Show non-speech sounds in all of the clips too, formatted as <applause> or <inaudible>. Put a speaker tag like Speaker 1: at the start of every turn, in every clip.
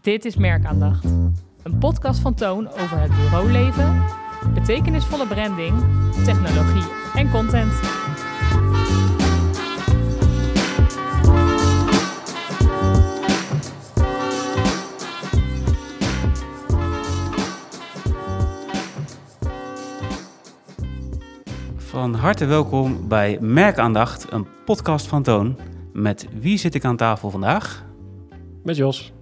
Speaker 1: Dit is Merkaandacht. Een podcast van Toon over het bureauleven, betekenisvolle branding, technologie en content.
Speaker 2: Van harte welkom bij Merkaandacht, een podcast van Toon. Met wie zit ik aan tafel vandaag?
Speaker 3: Met Jos.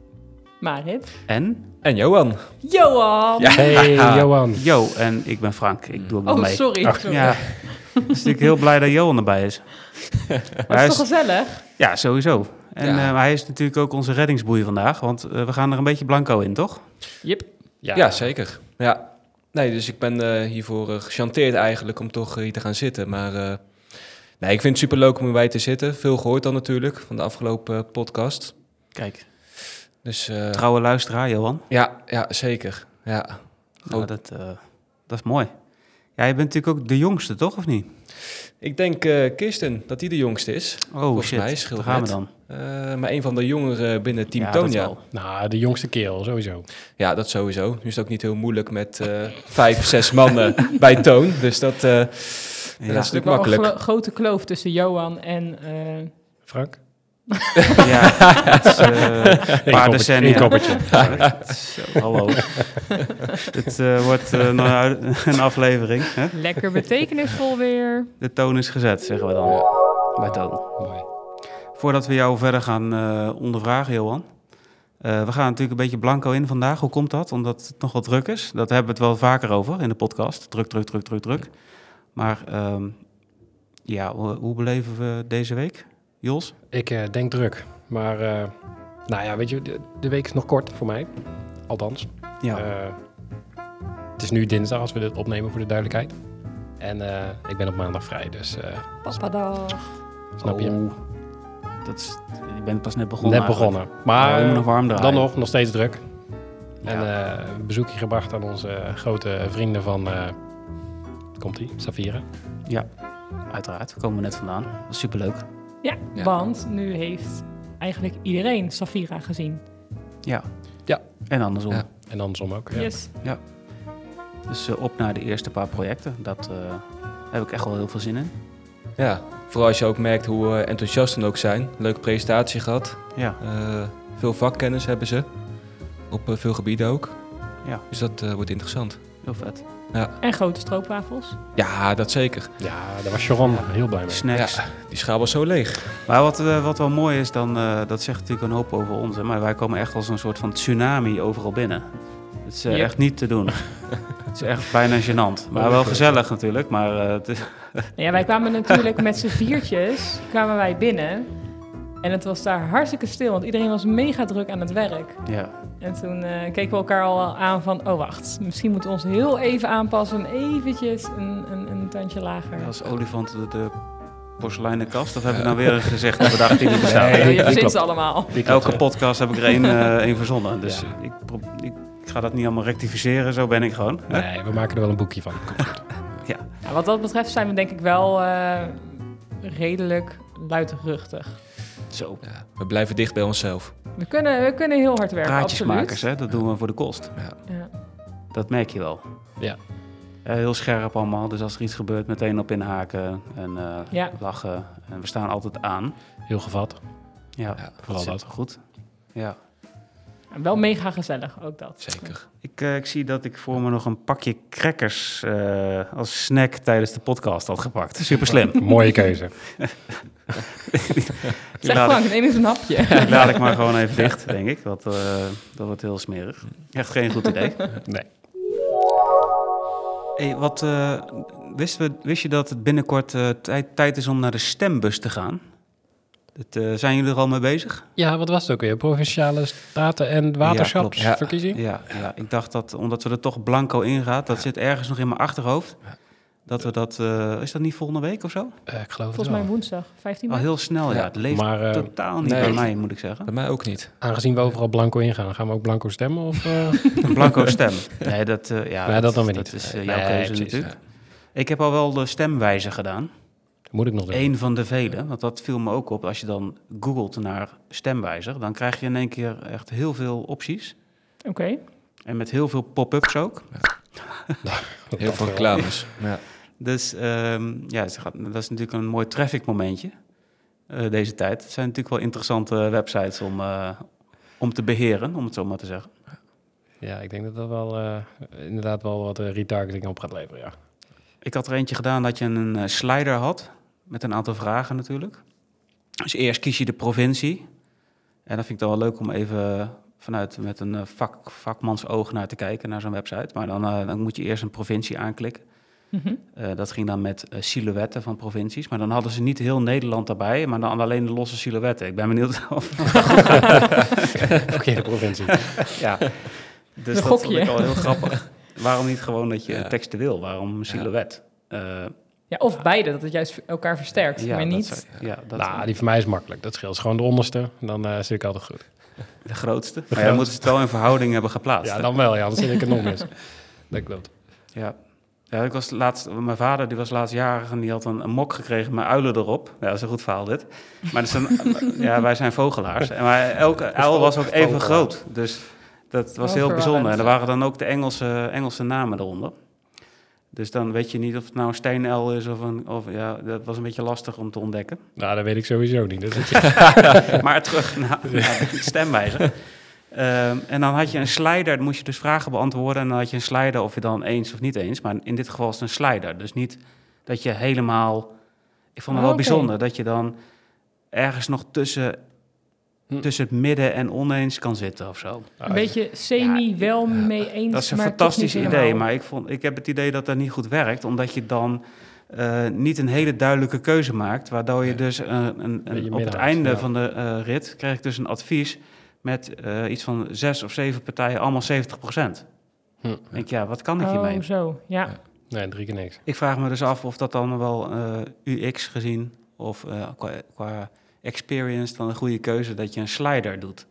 Speaker 1: Marit.
Speaker 2: En?
Speaker 4: En Johan.
Speaker 1: Johan!
Speaker 3: Hey, Johan.
Speaker 2: Jo, en ik ben Frank. Ik doe ook wel
Speaker 1: oh,
Speaker 2: mee.
Speaker 1: sorry. sorry.
Speaker 2: Ja, dus natuurlijk heel blij dat Johan erbij is. Maar
Speaker 1: Dat
Speaker 2: hij
Speaker 1: is toch
Speaker 2: is
Speaker 1: gezellig?
Speaker 2: ja, sowieso. En
Speaker 4: Ja.
Speaker 2: eh, maar hij is natuurlijk ook onze reddingsboei vandaag, want eh, we gaan er een beetje blanco in, toch?
Speaker 1: Yep.
Speaker 4: Ja, zeker. Ja. Nee, dus ik ben eh, hiervoor eh, gechanteerd eigenlijk om toch eh, hier te gaan zitten. Maar eh, nee, ik vind het superleuk om erbij te zitten. Veel gehoord dan natuurlijk van de afgelopen eh, podcast.
Speaker 2: Kijk.
Speaker 4: Dus eh,
Speaker 2: Trouwe luisteraar, Johan.
Speaker 4: ja, ja, zeker. Ja.
Speaker 2: Nou,
Speaker 4: Oh.
Speaker 2: dat, eh, dat is mooi. Ja, je bent natuurlijk ook de jongste, toch? Of niet?
Speaker 4: Ik denk eh, Kirsten, dat die de jongste is.
Speaker 2: Oh,
Speaker 4: Volgens
Speaker 2: shit.
Speaker 4: mij scheelt
Speaker 2: Daar gaan we
Speaker 4: het.
Speaker 2: dan.
Speaker 4: Eh, maar een van de jongeren binnen Team
Speaker 2: ja, dat
Speaker 4: Tonia.
Speaker 2: wel.
Speaker 3: Nou, de jongste kerel, sowieso.
Speaker 4: Ja, dat sowieso. Nu is het ook niet heel moeilijk met eh, vijf, zes mannen <laughs> bij Toon. Dus dat, eh,
Speaker 2: Ja.
Speaker 4: dat is natuurlijk
Speaker 1: wel een
Speaker 4: makkelijk.
Speaker 1: gro- grote kloof tussen Johan en... eh,
Speaker 3: Frank?
Speaker 2: Ja, het is,
Speaker 4: <laughs>
Speaker 2: eh, een paar
Speaker 3: koppertje,
Speaker 2: decennia.
Speaker 3: één koppertje.
Speaker 2: Sorry. <laughs> Zo, Hallo. Het eh, wordt eh, nog een- <laughs> een aflevering. Hè?
Speaker 1: lekker betekenisvol weer.
Speaker 2: De toon is gezet, zeggen we dan. Bij toon.
Speaker 3: Mooi.
Speaker 2: Voordat we jou verder gaan eh, ondervragen, Johan. eh, we gaan natuurlijk een beetje blanco in vandaag. Hoe komt dat? Omdat het nogal druk is. Dat hebben we het wel vaker over in de podcast. Druk, druk, druk, druk, druk. Maar ehm, ja, hoe hoe beleven we deze week, Jos?
Speaker 3: Ik eh, denk druk. Maar, eh, nou ja, weet je, de, de week is nog kort voor mij. Althans. Eh, het is nu dinsdag als we dit opnemen, voor de duidelijkheid. En eh, ik ben op maandag vrij, dus eh,
Speaker 1: Papadag.
Speaker 3: snap je?
Speaker 2: Oh, dat is, je bent pas net begonnen.
Speaker 3: Net
Speaker 2: eigenlijk.
Speaker 3: begonnen. Maar eh,
Speaker 2: Ja, we moeten nog warm draaien.
Speaker 3: dan nog, nog steeds druk.
Speaker 2: Ja.
Speaker 3: En eh, een bezoekje gebracht aan onze eh, grote vrienden van... eh, Komt-ie, Safira.
Speaker 2: Uiteraard, we komen er net vandaan. Dat was superleuk.
Speaker 4: Ja.
Speaker 1: Want nu heeft eigenlijk iedereen Safira gezien.
Speaker 2: Ja.
Speaker 3: Ja.
Speaker 2: En andersom.
Speaker 4: Ja.
Speaker 3: En andersom ook. Ja.
Speaker 1: Yes.
Speaker 2: Dus eh, op naar de eerste paar projecten. Dat, eh, daar heb ik echt wel heel veel zin in.
Speaker 4: Ja, vooral als je ook merkt hoe eh, enthousiast dan ook zijn. Leuke presentatie gehad.
Speaker 2: Ja.
Speaker 4: Eh, veel vakkennis hebben ze. Op eh, veel gebieden ook.
Speaker 2: Ja.
Speaker 4: Dus dat eh, wordt interessant.
Speaker 2: Heel vet.
Speaker 1: En grote stroopwafels.
Speaker 4: Ja, dat zeker.
Speaker 3: Ja, daar was Sharon heel blij mee.
Speaker 2: Snacks.
Speaker 4: Ja, die schaal was zo leeg.
Speaker 2: Maar wat, eh, wat wel mooi is, dan, eh, dat zegt natuurlijk een hoop over ons. Hè, maar wij komen echt als een soort van tsunami overal binnen. Het is eh,
Speaker 1: Yep.
Speaker 2: echt niet te <laughs> doen. Het is echt bijna gênant. Maar wel gezellig natuurlijk. Maar eh, het is-
Speaker 1: Nou Ja, wij kwamen natuurlijk met z'n viertjes kwamen wij binnen. En het was daar hartstikke stil, want iedereen was mega druk aan het werk.
Speaker 2: ja.
Speaker 1: En toen eh, keken we elkaar al aan van, oh wacht, misschien moeten we ons heel even aanpassen. en Eventjes een, een, een tandje lager.
Speaker 2: Als olifant de, de porseleinen kast. Of heb ik nou weer gezegd dat we dachten die niet bestaan?
Speaker 1: Ja,
Speaker 3: Nee, die-
Speaker 1: je
Speaker 3: die
Speaker 1: verzint
Speaker 3: klopt.
Speaker 1: ze allemaal.
Speaker 3: Die klopt,
Speaker 2: Elke
Speaker 3: ja.
Speaker 2: podcast heb ik er één eh, één verzonnen. Dus
Speaker 3: eh, Ja.
Speaker 2: ik, pro- ik ga dat niet allemaal rectificeren. Zo ben ik gewoon. hè?
Speaker 3: eh, Nee, we maken er wel een boekje van. Komt goed.
Speaker 1: Ja, wat dat betreft zijn we denk ik wel eh, redelijk luidruchtig.
Speaker 2: Zo.
Speaker 4: Ja, we blijven dicht bij onszelf.
Speaker 1: We kunnen, we kunnen heel hard werken,
Speaker 2: Praatjesmakers,
Speaker 1: absoluut.
Speaker 2: hè? dat doen we voor de kost.
Speaker 1: Ja.
Speaker 2: Dat merk je wel.
Speaker 3: Ja.
Speaker 2: Eh, heel scherp allemaal, dus als er iets gebeurt, meteen op inhaken en eh,
Speaker 1: Ja.
Speaker 2: lachen. En we staan altijd aan.
Speaker 3: Heel gevat.
Speaker 2: Ja,
Speaker 4: Ja,
Speaker 3: vooral
Speaker 2: zit
Speaker 3: dat.
Speaker 2: Goed. Ja.
Speaker 1: En wel mega gezellig, ook dat.
Speaker 4: Zeker.
Speaker 2: Ik, eh, ik zie dat ik voor me nog een pakje crackers eh, als snack tijdens de podcast had <laughs> gepakt. Super slim.
Speaker 3: Mooie keuze.
Speaker 2: <laughs>
Speaker 1: Zeg
Speaker 2: Laat
Speaker 1: Frank, neem eens een hapje.
Speaker 2: <laughs> ik, laat ik maar gewoon even dicht, denk ik. Want eh, dat wordt heel smerig. Echt geen goed idee.
Speaker 3: Nee.
Speaker 2: Hey, wat, eh, wist, we, wist je dat het binnenkort eh, tij- tijd is om naar de stembus te gaan? Dat, eh, zijn jullie er al mee bezig?
Speaker 3: Ja, wat was het ook weer? Provinciale Staten- en Waterschapsverkiezing?
Speaker 2: Ja, ja, ik dacht dat omdat we er toch blanco in gaat, dat zit ergens nog in mijn achterhoofd. Dat we dat, eh, is dat niet volgende week of zo?
Speaker 3: Eh, ik geloof het
Speaker 1: Volgens
Speaker 3: wel.
Speaker 1: mij woensdag, 15
Speaker 2: Al
Speaker 1: maart.
Speaker 2: heel snel, ja.
Speaker 4: Ja,
Speaker 2: Het leeft
Speaker 3: maar eh,
Speaker 2: totaal niet
Speaker 4: nee.
Speaker 2: bij mij, moet ik
Speaker 3: <laughs>
Speaker 2: zeggen.
Speaker 4: Bij mij ook niet.
Speaker 3: aangezien we overal blanco ingaan, gaan we ook blanco stemmen? Of, eh?
Speaker 2: <laughs> Een blanco stem. Nee, dat, eh, ja,
Speaker 3: Nee, dat dan weer
Speaker 2: dat
Speaker 3: niet.
Speaker 2: is eh,
Speaker 3: Nee,
Speaker 2: jouw
Speaker 3: nee,
Speaker 2: keuze
Speaker 3: precies,
Speaker 2: natuurlijk. Ik heb al wel de stemwijzer gedaan.
Speaker 3: Moet ik nog doen.
Speaker 2: Eén van de vele, want dat viel me ook op. Als je dan googelt naar stemwijzer, dan krijg je in één keer echt heel veel opties.
Speaker 1: Oké.
Speaker 2: En met heel veel pop-ups ook.
Speaker 4: Heel veel reclames. Ja.
Speaker 2: Dus ehm, ja, het gaat- dat is natuurlijk een mooi traffic momentje eh, deze tijd. Het zijn natuurlijk wel interessante websites om, eh, om te beheren, om het zo maar te zeggen.
Speaker 3: Ja, ik denk dat dat wel eh, inderdaad wel wat eh, retargeting op gaat leveren,
Speaker 2: <laughs>
Speaker 3: ja.
Speaker 2: Ik had er eentje gedaan dat je een eh, slider had met een aantal vragen natuurlijk. Dus eerst kies je de provincie. En dat vind ik dan wel leuk om even vanuit met een eh, vak, vakmans oog naar te kijken, naar zo'n website. Maar dan, eh, dan moet je eerst een provincie aanklikken.
Speaker 1: Mhm.
Speaker 2: Eh, dat ging dan met eh, silhouetten van provincies. Maar dan hadden ze niet heel Nederland daarbij, maar dan alleen de losse silhouetten. Ik ben benieuwd <laughs> of...
Speaker 3: Verkeerde
Speaker 2: <laughs>
Speaker 3: provincie.
Speaker 2: ja. Dus
Speaker 1: Een
Speaker 2: dat
Speaker 1: gokje.
Speaker 2: vond ik al heel grappig. Waarom niet gewoon dat je
Speaker 4: Ja.
Speaker 2: textueel, waarom een silhouet? Eh,
Speaker 1: Ja, of beide, dat het juist elkaar versterkt. maar
Speaker 2: dat
Speaker 1: niet.
Speaker 2: zou- ja, dat
Speaker 3: nou, die voor mij is makkelijk. Dat scheelt gewoon de onderste. Dan eh zit ik altijd goed.
Speaker 2: De grootste.
Speaker 3: De
Speaker 2: Maar ja, dan
Speaker 3: grootste.
Speaker 2: moeten ze het wel in verhouding hebben geplaatst.
Speaker 3: Ja,
Speaker 2: hè?
Speaker 3: dan wel. Ja, anders zit ik er
Speaker 2: <laughs>
Speaker 3: nog mis. Dat klopt.
Speaker 2: Ja. Ja, ik was laatst, mijn vader die was laatst jarig en die had een, een mok gekregen met uilen erop. Ja, dat is een goed verhaal dit. Maar dat is een- ja, wij zijn <laughs> vogelaars. En maar elke uil was ook even groot. Dus dat was
Speaker 1: Oh,
Speaker 2: heel bijzonder. En er
Speaker 1: verwarrend.
Speaker 2: waren dan ook de Engelse, Engelse namen eronder. Dus dan weet je niet of het nou een steenuil is of een... Of, ja, dat was een beetje lastig om te ontdekken.
Speaker 3: Nou, dat weet ik sowieso niet. Dus
Speaker 2: <laughs>
Speaker 3: het-
Speaker 2: maar terug naar, naar de stemwijzer. Ehm, en dan had je een slider, dan moest je dus vragen beantwoorden. En dan had je een slider of je dan eens of niet eens. Maar in dit geval is het een slider. Dus niet dat je helemaal... Ik vond het
Speaker 1: Oh,
Speaker 2: wel
Speaker 1: oké.
Speaker 2: bijzonder dat je dan ergens nog tussen,
Speaker 3: Hm.
Speaker 2: tussen het midden en oneens kan zitten of zo.
Speaker 3: Ah,
Speaker 1: Een beetje semi wel mee eens.
Speaker 2: Dat is een
Speaker 1: maar toch
Speaker 2: fantastisch
Speaker 1: niet
Speaker 2: idee,
Speaker 1: helemaal.
Speaker 2: maar ik, vond, ik heb het idee dat dat niet goed werkt, omdat je dan eh, niet een hele duidelijke keuze maakt, waardoor je
Speaker 3: Nee.
Speaker 2: dus een, een- een,
Speaker 3: Beetje
Speaker 2: op het
Speaker 3: middenhoudt,
Speaker 2: einde
Speaker 3: ja.
Speaker 2: van de eh, rit krijg ik dus een advies met eh, iets van zes of zeven partijen, allemaal 70 procent.
Speaker 3: Hm.
Speaker 2: denk ik, ja, wat kan ik hiermee?
Speaker 1: Oh, zo. Ja.
Speaker 4: Ja.
Speaker 3: Nee, drie keer niks.
Speaker 2: Ik vraag me dus af of dat dan wel eh, UX gezien of eh, qua, qua experience dan een goede keuze dat je een slider doet. Het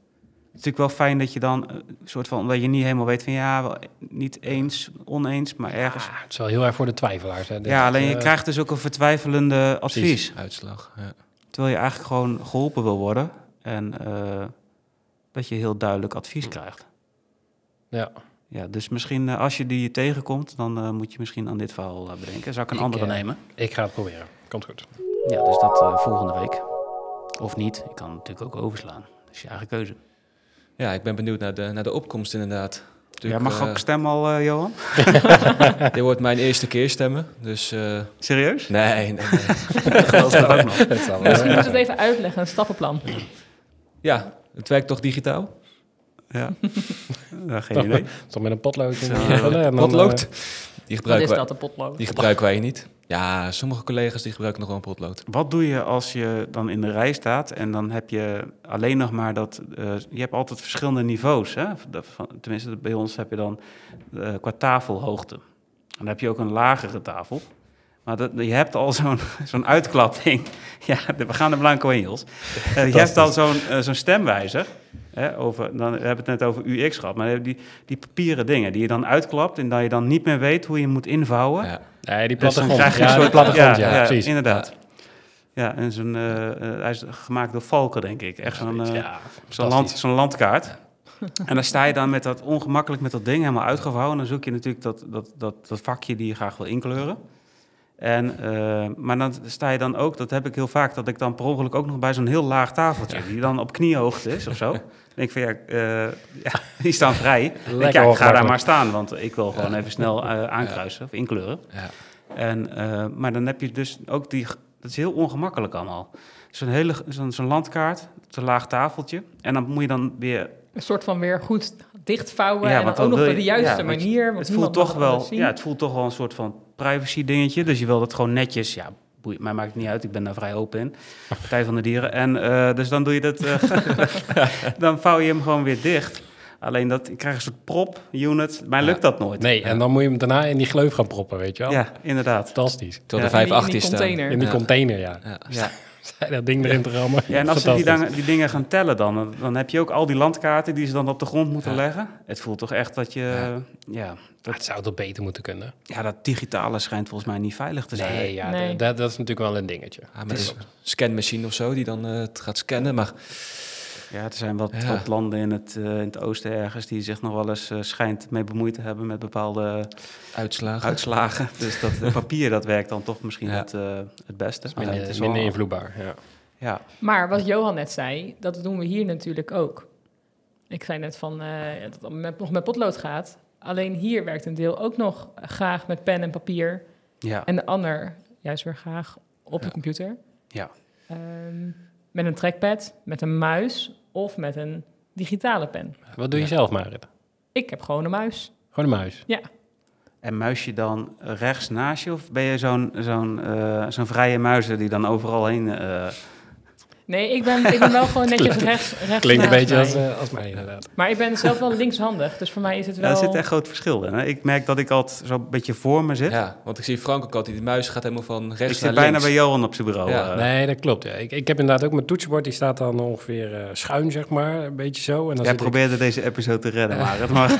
Speaker 2: is natuurlijk wel fijn dat je dan eh, een soort van, omdat je niet helemaal weet van ja, wel, niet eens, oneens, maar ergens.
Speaker 3: Ah, het is wel heel erg voor de twijfelaars. Hè, dit.
Speaker 2: Ja, alleen je
Speaker 3: Eh,
Speaker 2: krijgt dus ook een vertwijfelende advies.
Speaker 4: Precies, Uitslag. Ja.
Speaker 2: Terwijl je eigenlijk gewoon geholpen wil worden en eh, dat je heel duidelijk advies krijgt.
Speaker 3: Ja.
Speaker 2: Ja, dus misschien eh, als je die tegenkomt, dan eh, moet je misschien aan dit verhaal eh, bedenken. Zou ik een
Speaker 3: Ik,
Speaker 2: andere
Speaker 3: eh,
Speaker 2: nemen?
Speaker 3: Ik ga het proberen. Komt goed.
Speaker 2: Ja, dus dat eh, volgende week. Of niet. Ik kan het natuurlijk ook overslaan. Dat is je eigen keuze.
Speaker 4: ja, ik ben benieuwd naar de, naar de opkomst inderdaad.
Speaker 2: Jij
Speaker 4: Natuurlijk,
Speaker 2: mag
Speaker 4: eh,
Speaker 2: ook stem al, eh,
Speaker 4: <laughs>
Speaker 2: Johan?
Speaker 4: dit wordt mijn eerste keer stemmen, dus eh,
Speaker 2: Serieus?
Speaker 4: nee, nee, <laughs> nee.
Speaker 2: Dat is
Speaker 4: <laughs>
Speaker 2: ook nog.
Speaker 3: Het zal wel.
Speaker 1: Dus je moet het even uitleggen, een stappenplan.
Speaker 4: Ja, het werkt toch digitaal?
Speaker 2: Ja. ja. Geen idee.
Speaker 3: Toch met een potlood. in.
Speaker 2: Ja.
Speaker 3: Vullen en dan, eh,
Speaker 4: potlood? Die
Speaker 1: Wat
Speaker 4: gebruiken,
Speaker 1: is
Speaker 4: wij,
Speaker 1: dat, een potlood?
Speaker 4: Die gebruiken wij hier niet. Ja, sommige collega's die gebruiken nog wel een potlood.
Speaker 2: Wat doe je als je dan in de rij staat en dan heb je alleen nog maar dat... eh, je hebt altijd verschillende niveaus, hè? Dat van- Tenminste, bij ons heb je dan eh, qua tafelhoogte. En dan heb je ook een lagere tafel. Maar dat, je hebt al <laughs> zo'n zo'n uitklapping. <laughs> Ja, de- we gaan er blanco in, Jos. Eh, je hebt al zo'n eh, zo'n stemwijzer. Hè, over, dan, we hebben het net over UX gehad. Maar dan heb je die, die papieren dingen die je dan uitklapt... en dat je dan niet meer weet hoe je moet invouwen.
Speaker 4: Ja.
Speaker 3: Nee, die
Speaker 2: Dus dan
Speaker 3: plattegrond.
Speaker 2: krijg je een
Speaker 3: ja, die
Speaker 2: soort-
Speaker 3: plattegrond, ja, precies.
Speaker 2: Inderdaad. Ja, en zo'n, eh, eh, hij is gemaakt door Valken, denk ik. Echt zo'n eh,
Speaker 3: ja,
Speaker 2: zo'n
Speaker 3: fantastisch.
Speaker 2: land, zo'n landkaart. <laughs> En dan sta je dan met dat ongemakkelijk met dat ding helemaal uitgevouwen. En dan zoek je natuurlijk dat, dat, dat, dat vakje die je graag wil inkleuren. En, eh, maar dan sta je dan ook, dat heb ik heel vaak, dat ik dan per ongeluk ook nog bij zo'n heel laag tafeltje, die dan op kniehoogte is of
Speaker 3: <laughs>
Speaker 2: zo. Dan denk ik van ja, eh, <laughs> ja die staan vrij. Ik denk,
Speaker 3: Lekker
Speaker 2: ja, ik ga daar
Speaker 3: ongemakkelijk.
Speaker 2: maar staan, want ik wil gewoon even snel eh, aankruisen of inkleuren.
Speaker 4: Ja.
Speaker 2: En, eh, maar dan heb je dus ook die... Dat is heel ongemakkelijk allemaal. Zo'n hele zo'n zo'n landkaart, te laag tafeltje. En dan moet je dan weer...
Speaker 1: Een soort van weer goed dichtvouwen
Speaker 2: Ja,
Speaker 1: en
Speaker 2: want
Speaker 1: dan ook nog
Speaker 2: dan wil
Speaker 1: op de
Speaker 2: je-
Speaker 1: juiste
Speaker 2: ja, want je-
Speaker 1: manier. Want
Speaker 2: Het voelt,
Speaker 1: niemand
Speaker 2: toch
Speaker 1: mag
Speaker 2: wel,
Speaker 1: anders zien.
Speaker 2: ja, het voelt toch wel een soort van privacy dingetje. Dus je wil dat gewoon netjes... Ja, boeit, mij maakt het niet uit. Ik ben daar vrij open in. Partij van de dieren. En eh, dus dan doe je dat... eh,
Speaker 1: <laughs>
Speaker 2: <laughs> dan vouw je hem gewoon weer dicht. Alleen dat... Ik krijg een soort prop unit. Mij lukt dat nooit.
Speaker 3: Nee, en dan moet je hem daarna in die gleuf gaan proppen, weet je wel.
Speaker 2: Ja, inderdaad.
Speaker 3: Fantastisch.
Speaker 4: Terwijl
Speaker 2: Ja.
Speaker 4: de
Speaker 1: In die-
Speaker 4: 5
Speaker 1: in die
Speaker 4: is staan.
Speaker 1: container.
Speaker 3: In die
Speaker 4: Ja.
Speaker 3: container, ja. <laughs>
Speaker 4: Ja.
Speaker 2: Ja.
Speaker 3: zei dat ding erin te rammen.
Speaker 2: Ja, en als ze die,
Speaker 3: Fantastisch.
Speaker 2: dan- die dingen gaan tellen dan, dan- dan heb je ook al die landkaarten die ze dan op de grond moeten
Speaker 3: Ja.
Speaker 2: leggen. Het voelt toch echt dat je, ja. Ja,
Speaker 3: Ja, Ah, het zou toch beter moeten kunnen?
Speaker 2: dat digitale schijnt volgens mij niet veilig te zijn.
Speaker 3: Nee, ja,
Speaker 1: Nee.
Speaker 3: d- Dat, dat is natuurlijk wel een dingetje.
Speaker 2: Ah,
Speaker 4: Ja, met een scanmachine of zo die dan eh, het gaat scannen. Maar
Speaker 2: Ja, er zijn wat,
Speaker 4: Ja.
Speaker 2: wat landen in het, eh, in het oosten ergens die zich nog wel eens eh, schijnt mee bemoeid te hebben met bepaalde
Speaker 4: uitslagen.
Speaker 2: uitslagen. Dus dat eh, papier, dat werkt dan toch misschien
Speaker 4: Ja.
Speaker 2: het, eh, het beste. Maar
Speaker 3: Minder,
Speaker 2: het is
Speaker 3: minder
Speaker 2: wel-
Speaker 3: invloedbaar. Ja.
Speaker 2: ja.
Speaker 1: Maar wat Johan net zei, dat doen we hier natuurlijk ook. Ik zei net van, eh, dat het met, nog met potlood gaat. Alleen hier werkt een deel ook nog graag met pen en papier.
Speaker 2: Ja.
Speaker 1: En de ander juist weer graag op de computer.
Speaker 2: Ja.
Speaker 1: Ehm, met een trackpad, met een muis of met een digitale pen.
Speaker 3: Wat doe je zelf, Marit?
Speaker 1: Ik heb gewoon een muis.
Speaker 3: Gewoon een muis.
Speaker 2: En muis je dan rechts naast je of ben je zo'n zo'n eh, zo'n vrije muizen die dan overal heen... eh,
Speaker 1: Nee, ik ben, ik ben wel gewoon netjes rechts, rechts
Speaker 3: Klinkt een
Speaker 1: naast
Speaker 3: beetje
Speaker 1: mij.
Speaker 3: als, eh, als mij, inderdaad.
Speaker 1: Maar ik ben zelf wel linkshandig, dus voor mij is het
Speaker 2: Ja,
Speaker 1: wel...
Speaker 2: er zit echt groot verschil in. Hè? Ik merk dat ik altijd zo'n beetje voor me zit.
Speaker 4: Ja, want ik zie Frank ook altijd, die muis gaat helemaal van
Speaker 2: ik
Speaker 4: rechts
Speaker 2: zit
Speaker 4: naar
Speaker 2: bijna
Speaker 4: links.
Speaker 2: bij Johan op zijn bureau.
Speaker 4: Ja.
Speaker 2: eh.
Speaker 3: Nee, dat klopt. Ja. Ik, ik heb inderdaad ook mijn toetsenbord, die staat dan ongeveer eh, schuin, zeg maar. Een beetje zo. En
Speaker 2: Jij
Speaker 3: dan zit ik-
Speaker 2: probeerde deze episode te redden, maar het mag.
Speaker 4: <laughs>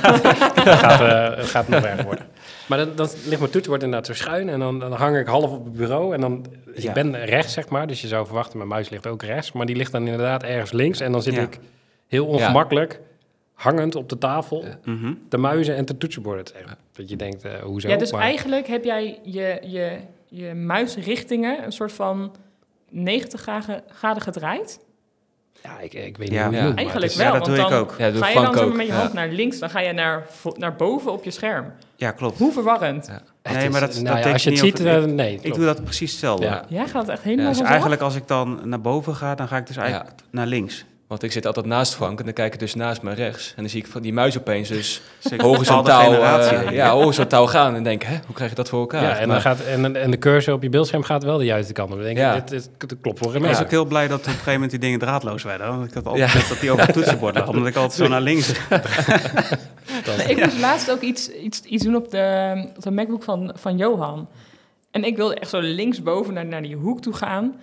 Speaker 3: gaat, eh, <laughs> het gaat nog erger worden. Maar dan, dan ligt mijn toetsenbord inderdaad zo schuin en dan, dan hang ik half op het bureau. En dan,
Speaker 2: Ja.
Speaker 3: ik ben rechts, zeg maar, dus je zou verwachten, mijn muis ligt ook rechts. Maar die ligt dan inderdaad ergens links en dan zit
Speaker 2: Ja.
Speaker 3: ik heel ongemakkelijk... Hangend op de tafel,
Speaker 2: Mhm.
Speaker 3: de muizen en de toetsenborden. Het is echt Dat je denkt, eh, hoezo?
Speaker 1: Ja, dus
Speaker 3: Maar-
Speaker 1: eigenlijk heb jij je, je, je muisrichtingen een soort van 90 graden, graden gedraid.
Speaker 3: ja, ik, ik weet niet
Speaker 2: Ja.
Speaker 3: hoe je
Speaker 4: Ja.
Speaker 3: het noemt, maar
Speaker 1: Eigenlijk
Speaker 2: is-
Speaker 1: wel,
Speaker 2: ja, dat
Speaker 1: want
Speaker 2: doe ik
Speaker 1: dan
Speaker 2: ook.
Speaker 4: Ja, dat doet
Speaker 1: ga je
Speaker 4: Frank
Speaker 1: dan zeg maar
Speaker 4: ook,
Speaker 1: met je
Speaker 4: ja.
Speaker 1: hand naar links, dan ga je naar, vo- naar boven op je scherm.
Speaker 2: Ja, klopt.
Speaker 1: Hoe verwarrend.
Speaker 4: Ja.
Speaker 3: het
Speaker 2: Nee,
Speaker 3: is-
Speaker 2: maar dat,
Speaker 3: nou
Speaker 2: dat
Speaker 3: ja,
Speaker 2: denk
Speaker 3: als
Speaker 2: ik
Speaker 3: je het
Speaker 2: niet
Speaker 3: ziet,
Speaker 2: of- ik,
Speaker 3: eh, nee.
Speaker 2: ik
Speaker 3: klopt.
Speaker 2: doe dat precies hetzelfde.
Speaker 3: Ja.
Speaker 1: Jij gaat het echt helemaal
Speaker 4: Ja,
Speaker 1: ja,
Speaker 4: dus
Speaker 2: Dus eigenlijk als ik dan naar boven ga, dan ga ik dus eigenlijk naar links.
Speaker 4: Want ik zit altijd naast Frank en dan kijk ik dus naast mij rechts. En dan zie ik van die muis opeens dus
Speaker 2: Dus ik-
Speaker 4: horizontaal,
Speaker 2: bepaalde generatie,
Speaker 4: eh,
Speaker 2: denk ik.
Speaker 4: ja, horizontaal gaan. En denk, hè, hoe krijg je dat voor elkaar?
Speaker 3: Ja, en,
Speaker 4: Maar-
Speaker 3: dan gaat, en, en de cursor op je beeldscherm gaat wel de juiste kant op. Dan denk ik,
Speaker 4: Ja.
Speaker 3: dit, dit, dit klopt voor hem.
Speaker 2: Ik was
Speaker 3: Ja.
Speaker 2: ook heel blij dat op een gegeven moment die dingen draadloos werden. Want ik had altijd
Speaker 4: Ja.
Speaker 2: net dat die over het toetsenbord
Speaker 4: <laughs>
Speaker 2: lag, omdat ik altijd zo naar links...
Speaker 1: Ik moest laatst ook iets, iets, iets doen op de, op de MacBook van, van Johan. En ik wilde echt zo linksboven naar, naar die hoek toe gaan.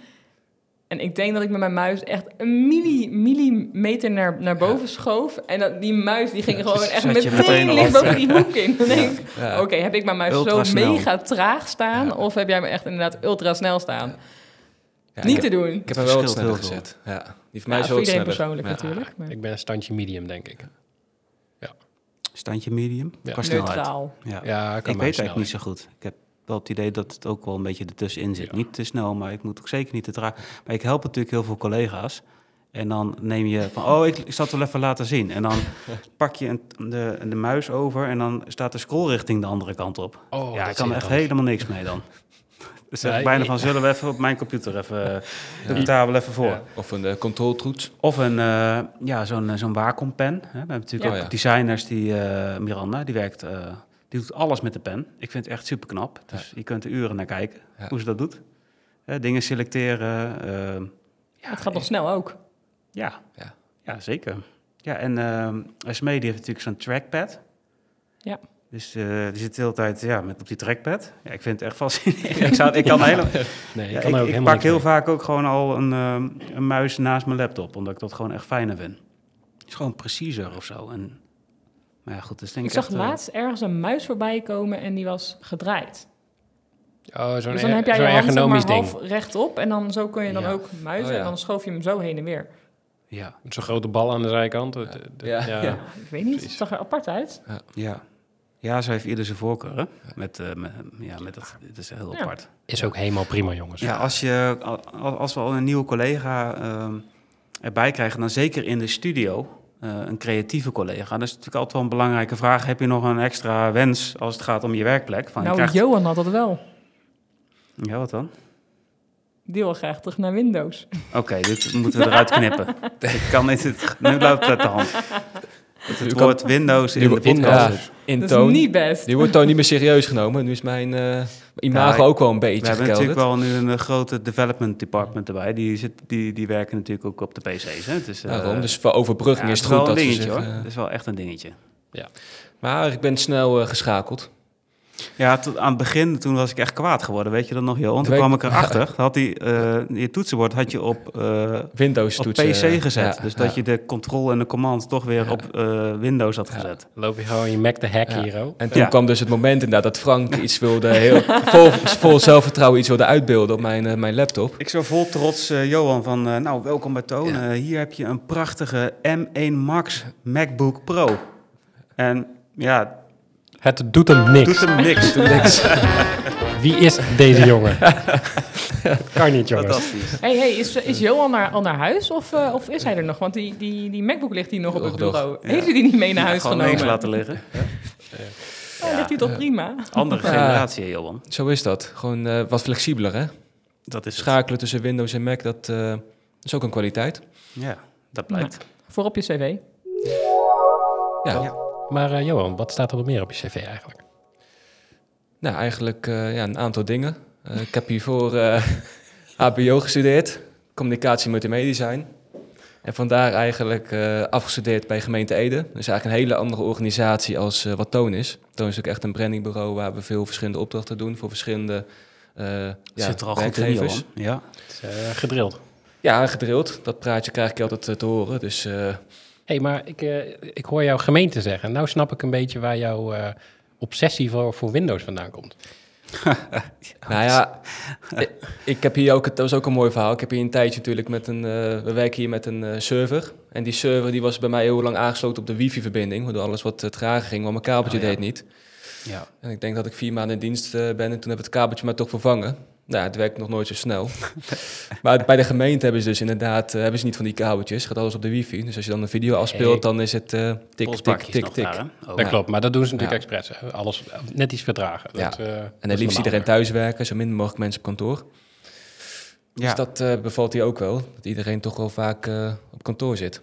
Speaker 1: En ik denk dat ik met mijn muis echt een milli, millimeter naar, naar boven schoof. En dat, die muis die ging gewoon echt
Speaker 2: zat je
Speaker 1: meteen,
Speaker 2: meteen al.
Speaker 1: linksboven die hoek in. Dan denk ik,
Speaker 4: ja.
Speaker 1: oké, heb ik mijn muis zo
Speaker 2: Ultrasnel.
Speaker 1: mega traag staan?
Speaker 4: Ja.
Speaker 1: Of heb jij me echt inderdaad ultra snel staan?
Speaker 4: Ja,
Speaker 1: Niet te
Speaker 4: ik, heb-
Speaker 1: doen.
Speaker 4: ik heb hem wel wat
Speaker 2: verschilt
Speaker 4: sneller
Speaker 2: heel veel.
Speaker 4: gezet. Ja, die heeft mij
Speaker 1: Ja,
Speaker 4: zo
Speaker 1: voor
Speaker 4: wat
Speaker 1: iedereen
Speaker 4: sneller.
Speaker 1: persoonlijk
Speaker 4: Ja.
Speaker 1: natuurlijk. Maar
Speaker 3: Ik ben een standje medium, denk ik.
Speaker 2: <laughs> Standje medium,
Speaker 3: Ja.
Speaker 2: qua snelheid.
Speaker 1: neutraal.
Speaker 2: Ja.
Speaker 3: Ja,
Speaker 2: Ik
Speaker 3: kan
Speaker 2: weet eigenlijk niet zo goed. Ik heb wel het idee dat het ook wel een beetje ertussenin zit.
Speaker 3: Ja.
Speaker 2: Niet te snel, maar ik moet ook zeker niet te traag. Maar ik help natuurlijk heel veel collega's. En dan neem je van, oh, ik, ik zal het wel even laten zien. En
Speaker 3: <laughs>
Speaker 2: dan pak je een, de, de muis over en dan staat de scrollrichting de andere kant op.
Speaker 3: Oh,
Speaker 2: ja,
Speaker 3: dat
Speaker 2: ik kan
Speaker 3: zie
Speaker 2: er
Speaker 3: ik
Speaker 2: echt
Speaker 3: dan.
Speaker 2: helemaal niks mee
Speaker 3: <laughs>
Speaker 2: dan. Dus zeg ik
Speaker 3: Nee,
Speaker 2: bijna
Speaker 3: ik-
Speaker 2: van, zullen we even op mijn computer even,
Speaker 3: <laughs>
Speaker 2: eh, de tafel even voor.
Speaker 3: Ja.
Speaker 4: Of een eh, controltroets.
Speaker 2: Of een, eh, ja, zo'n eh, zo'n Wacom-pen. hè. We hebben natuurlijk
Speaker 4: Ja.
Speaker 2: ook
Speaker 4: Oh,
Speaker 2: designers die, eh, Miranda, die werkt, eh, die doet alles met de pen. Ik vind het echt super knap. Dus je kunt er uren naar kijken
Speaker 4: Ja.
Speaker 2: hoe ze dat doet. Hè, dingen selecteren. eh, ja,
Speaker 1: het gaat nog
Speaker 2: eh,
Speaker 1: snel ook.
Speaker 2: Ja.
Speaker 4: Ja.
Speaker 2: Ja. zeker. Ja, en eh SME die heeft natuurlijk zo'n trackpad.
Speaker 1: Ja.
Speaker 2: Dus eh, die zit de hele tijd ja, met op die trackpad. Ja, ik vind het echt
Speaker 4: <laughs>
Speaker 2: fascinerend. ik, zou, ik kan helemaal...
Speaker 3: Nee,
Speaker 2: Ja,
Speaker 3: ik kan er
Speaker 2: ik, ik
Speaker 3: ook helemaal
Speaker 2: pak
Speaker 3: niks mee.
Speaker 2: heel vaak ook gewoon al een, ehm, een muis naast mijn laptop, omdat ik dat gewoon echt fijner vind. Het is gewoon preciezer of zo. En, maar ja, goed, dus denk
Speaker 1: Ik
Speaker 2: ik,
Speaker 1: zag
Speaker 2: echt, eh,
Speaker 1: laatst ergens een muis voorbij komen en die was gedraaid.
Speaker 3: Oh, zo'n
Speaker 1: Dus dan heb jij
Speaker 3: zo'n
Speaker 1: je hand zeg maar,
Speaker 3: ergonomisch
Speaker 1: half
Speaker 3: ding.
Speaker 1: rechtop en dan zo kun je dan
Speaker 2: Ja.
Speaker 1: ook muizen
Speaker 4: Oh, ja.
Speaker 1: en dan schoof je hem zo heen en weer.
Speaker 2: Ja,
Speaker 3: Zo'n grote bal aan de zijkant. Het- het-
Speaker 4: Ja.
Speaker 3: ja.
Speaker 4: Ja.
Speaker 1: Ik weet niet, het zag er apart uit.
Speaker 2: ja. Ja, zo heeft ieder zijn voorkeur, hè? Met, eh, met, ja, met dat, het is heel
Speaker 1: Ja.
Speaker 2: apart.
Speaker 3: Is ook helemaal prima, jongens.
Speaker 2: Ja, als, je, al- als we al een nieuwe collega ehm, erbij krijgen, dan zeker in de studio, eh, een creatieve collega. Dat is natuurlijk altijd wel een belangrijke vraag. Heb je nog een extra wens als het gaat om je werkplek? Van, je
Speaker 1: nou,
Speaker 2: krijgt-
Speaker 1: Johan had dat wel.
Speaker 2: Ja, wat dan?
Speaker 1: Die wil graag terug naar Windows.
Speaker 2: Oké, dit moeten we eruit knippen. Ik kan dit, het, nu loopt het uit de hand. Dat
Speaker 4: U
Speaker 2: het
Speaker 4: kan-
Speaker 2: woord Windows in
Speaker 4: Nu-
Speaker 2: de podcast.
Speaker 4: ja,
Speaker 2: zit.
Speaker 4: in
Speaker 1: dat
Speaker 4: toon.
Speaker 1: is niet best.
Speaker 4: Nu wordt toon niet meer serieus genomen. Nu is mijn eh, imago
Speaker 2: Ja,
Speaker 4: ook wel een beetje
Speaker 2: We hebben
Speaker 4: gekelderd.
Speaker 2: natuurlijk wel nu een eh, grote development department erbij. Die, zit, die, die werken natuurlijk ook op de PC's. Hè? Het is, eh,
Speaker 4: Daarom, dus voor overbrugging
Speaker 2: ja,
Speaker 4: is het
Speaker 2: wel
Speaker 4: goed dat
Speaker 2: een
Speaker 4: ze
Speaker 2: dingetje
Speaker 4: zich,
Speaker 2: hoor.
Speaker 4: eh,
Speaker 2: Het is wel echt een dingetje.
Speaker 4: Maar ik ben snel eh, geschakeld.
Speaker 2: Ja, tot aan het begin, toen was ik echt kwaad geworden. Weet je dat nog, Johan? Toen kwam ik erachter. Had die, eh, je toetsenbord had je op, eh,
Speaker 4: Windows
Speaker 2: op
Speaker 4: toetsen. eh,
Speaker 2: PC gezet.
Speaker 4: Ja,
Speaker 2: dus dat
Speaker 4: ja.
Speaker 2: je de control en de command toch weer op eh, Windows had gezet.
Speaker 3: Loop je gewoon je Mac te hacken
Speaker 4: Ja.
Speaker 3: hier, oh.
Speaker 4: En toen
Speaker 2: Ja.
Speaker 4: kwam dus het moment inderdaad dat Frank
Speaker 2: <laughs>
Speaker 4: iets wilde, heel, vol, vol zelfvertrouwen iets wilde uitbeelden op mijn, eh, mijn laptop.
Speaker 2: Ik zo vol trots, eh, Johan, van eh, nou, welkom bij Toon. Eh, hier heb je een prachtige M1 Max MacBook Pro. En ja,
Speaker 3: Het doet hem niks.
Speaker 2: doet hem niks.
Speaker 3: <laughs>
Speaker 4: Toen dacht ik,
Speaker 3: Wie is deze jongen? Dat kan niet, jongens.
Speaker 2: Fantastisch.
Speaker 1: hey, hey, is, is Johan naar, al naar huis of, eh, of is hij er nog? Want die, die, die MacBook ligt hier nog op het
Speaker 4: Nog, nog.
Speaker 1: bureau.
Speaker 2: Ja.
Speaker 1: Heeft hij die niet mee naar huis
Speaker 2: Gewoon
Speaker 1: genomen?
Speaker 2: niks laten liggen.
Speaker 1: Oh, ligt hij toch prima?
Speaker 2: Andere
Speaker 4: Ja.
Speaker 2: generatie, hè, Johan.
Speaker 4: zo is dat. Gewoon eh, wat flexibeler, hè?
Speaker 2: Dat is schaak.
Speaker 4: Schakelen tussen Windows en Mac, dat eh, is ook een kwaliteit.
Speaker 2: Ja, dat blijkt.
Speaker 1: Voor op je cv.
Speaker 4: Ja.
Speaker 2: Ja.
Speaker 3: Maar eh, Johan, wat staat er nog meer op je cv eigenlijk?
Speaker 4: Nou, eigenlijk eh, ja, een aantal dingen. Eh, ik heb hiervoor eh <laughs> HBO gestudeerd, communicatie multimedia design. En vandaar eigenlijk eh, afgestudeerd bij gemeente Ede. Dat is eigenlijk een hele andere organisatie als eh, wat Toon is. Toon is natuurlijk echt een brandingbureau waar we veel verschillende opdrachten doen voor verschillende eh ja,
Speaker 2: Zit er al goed in,
Speaker 4: werkgevers.
Speaker 2: Johan. Ja.
Speaker 3: Het is eh, gedrild.
Speaker 4: ja, gedrild. Dat praatje krijg ik je altijd eh, te horen. Dus eh,
Speaker 3: Hé, hey, maar ik, eh, ik hoor jouw gemeente zeggen. Nou snap ik een beetje waar jouw eh, obsessie voor, voor Windows vandaan komt.
Speaker 4: Nou
Speaker 2: <laughs>
Speaker 4: ja, ik, ik heb hier ook, het was ook een mooi verhaal. Ik heb hier een tijdje natuurlijk met een, eh, we werken hier met een eh, server. En die server die was bij mij heel lang aangesloten op de wifi-verbinding, waardoor alles wat eh, trager ging, want mijn kabeltje
Speaker 2: Oh, ja.
Speaker 4: deed niet.
Speaker 2: Ja.
Speaker 4: En ik denk dat ik vier maanden in dienst eh, ben en toen heb ik het kabeltje maar toch vervangen. Nou, het werkt nog nooit zo
Speaker 2: <laughs>
Speaker 4: snel. maar bij de gemeente hebben ze dus inderdaad, eh, hebben ze niet van die kabeltjes, gaat alles op de wifi. Dus als je dan een video afspeelt,
Speaker 3: Nee.
Speaker 4: dan is het eh, tik, tik,
Speaker 2: Polsbakjes
Speaker 4: tik,
Speaker 2: nog
Speaker 4: tik.
Speaker 2: daar, hè? Oh,
Speaker 3: dat
Speaker 4: ja.
Speaker 3: klopt, maar dat doen ze natuurlijk
Speaker 4: Ja.
Speaker 3: expres. hè. Alles eh, net iets verdragen.
Speaker 4: Ja.
Speaker 3: Dat, eh, dat
Speaker 4: En
Speaker 3: is
Speaker 4: dan liefst
Speaker 3: normaal.
Speaker 4: iedereen thuis werken, zo minder mogelijk mensen op kantoor.
Speaker 2: ja.
Speaker 4: Dus dat eh, bevalt hier ook wel. Dat iedereen toch wel vaak eh, op kantoor zit.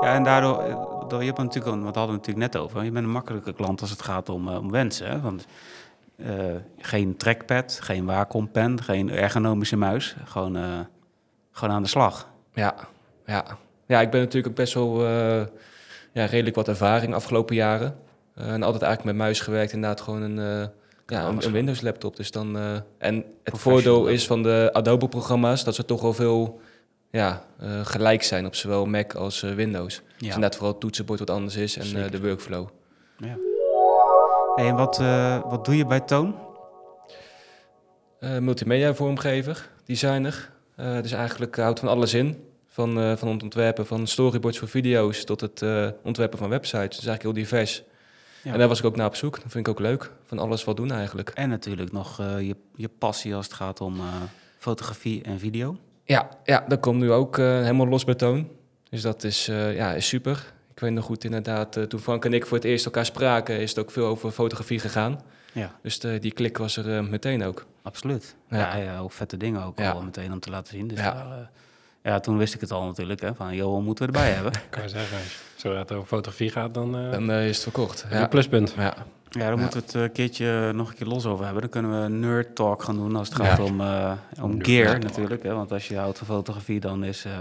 Speaker 2: Ja, en daardoor, eh, door- je hebt natuurlijk, een- want we hadden het natuurlijk net over, je bent een makkelijke klant als het gaat om, eh, om wensen. Hè? Want eh, geen trackpad, geen Wacom-pen, geen ergonomische muis, gewoon, eh, gewoon aan de slag.
Speaker 4: Ja, ja. ja ik ben natuurlijk ook best wel eh, ja, redelijk wat ervaring afgelopen jaren. Eh, en altijd eigenlijk met muis gewerkt, inderdaad gewoon een, eh, ja,
Speaker 2: alles
Speaker 4: een, een
Speaker 2: gewoon.
Speaker 4: Windows laptop. Dus dan, eh, en het
Speaker 2: Professional
Speaker 4: voordeel
Speaker 2: laptop.
Speaker 4: is van de Adobe programma's dat ze toch wel veel ja, eh, gelijk zijn op zowel Mac als eh, Windows. Dus
Speaker 2: Ja.
Speaker 4: inderdaad vooral het toetsenbord wat anders is en eh,
Speaker 2: Zeker.
Speaker 4: de workflow.
Speaker 2: ja. Hey, en wat, eh, wat doe je bij Toon?
Speaker 4: Eh, multimedia vormgever, designer. Eh, dus eigenlijk houdt van alles in. Van, eh, van het ontwerpen van storyboards voor video's tot het eh, ontwerpen van websites. Dus eigenlijk heel divers.
Speaker 2: Ja.
Speaker 4: En daar was ik ook naar op zoek. Dat vind ik ook leuk. Van alles wat doen eigenlijk.
Speaker 2: En natuurlijk nog eh, je, je passie als het gaat om eh, fotografie en video.
Speaker 4: Ja, ja dat komt nu ook eh, helemaal los bij Toon. Dus dat is, eh, ja, is super. Ik weet nog goed inderdaad, eh, toen Frank en ik voor het eerst elkaar spraken... is het ook veel over fotografie gegaan.
Speaker 2: Ja,
Speaker 4: Dus de- die klik was er eh, meteen ook.
Speaker 2: absoluut. Ja,
Speaker 4: Ja.
Speaker 2: ja, ook vette dingen ook
Speaker 4: Ja.
Speaker 2: al meteen om te laten zien. Dus
Speaker 4: Ja.
Speaker 2: daar, eh, ja, toen wist ik het al natuurlijk, hè, van Johan moeten we erbij hebben.
Speaker 3: Kan je zeggen, zodra het over fotografie gaat, dan eh,
Speaker 4: Dan eh, is het verkocht.
Speaker 3: een
Speaker 4: Ja,
Speaker 3: pluspunt.
Speaker 4: ja.
Speaker 2: Ja, daar moeten we het eh, een keertje nog een keer los over hebben. Dan kunnen we nerd talk gaan doen als het
Speaker 4: Ja.
Speaker 2: gaat om, eh, om
Speaker 3: Nerd
Speaker 2: gear
Speaker 3: talk.
Speaker 2: natuurlijk. Hè? Want als je houdt van fotografie, dan is, eh,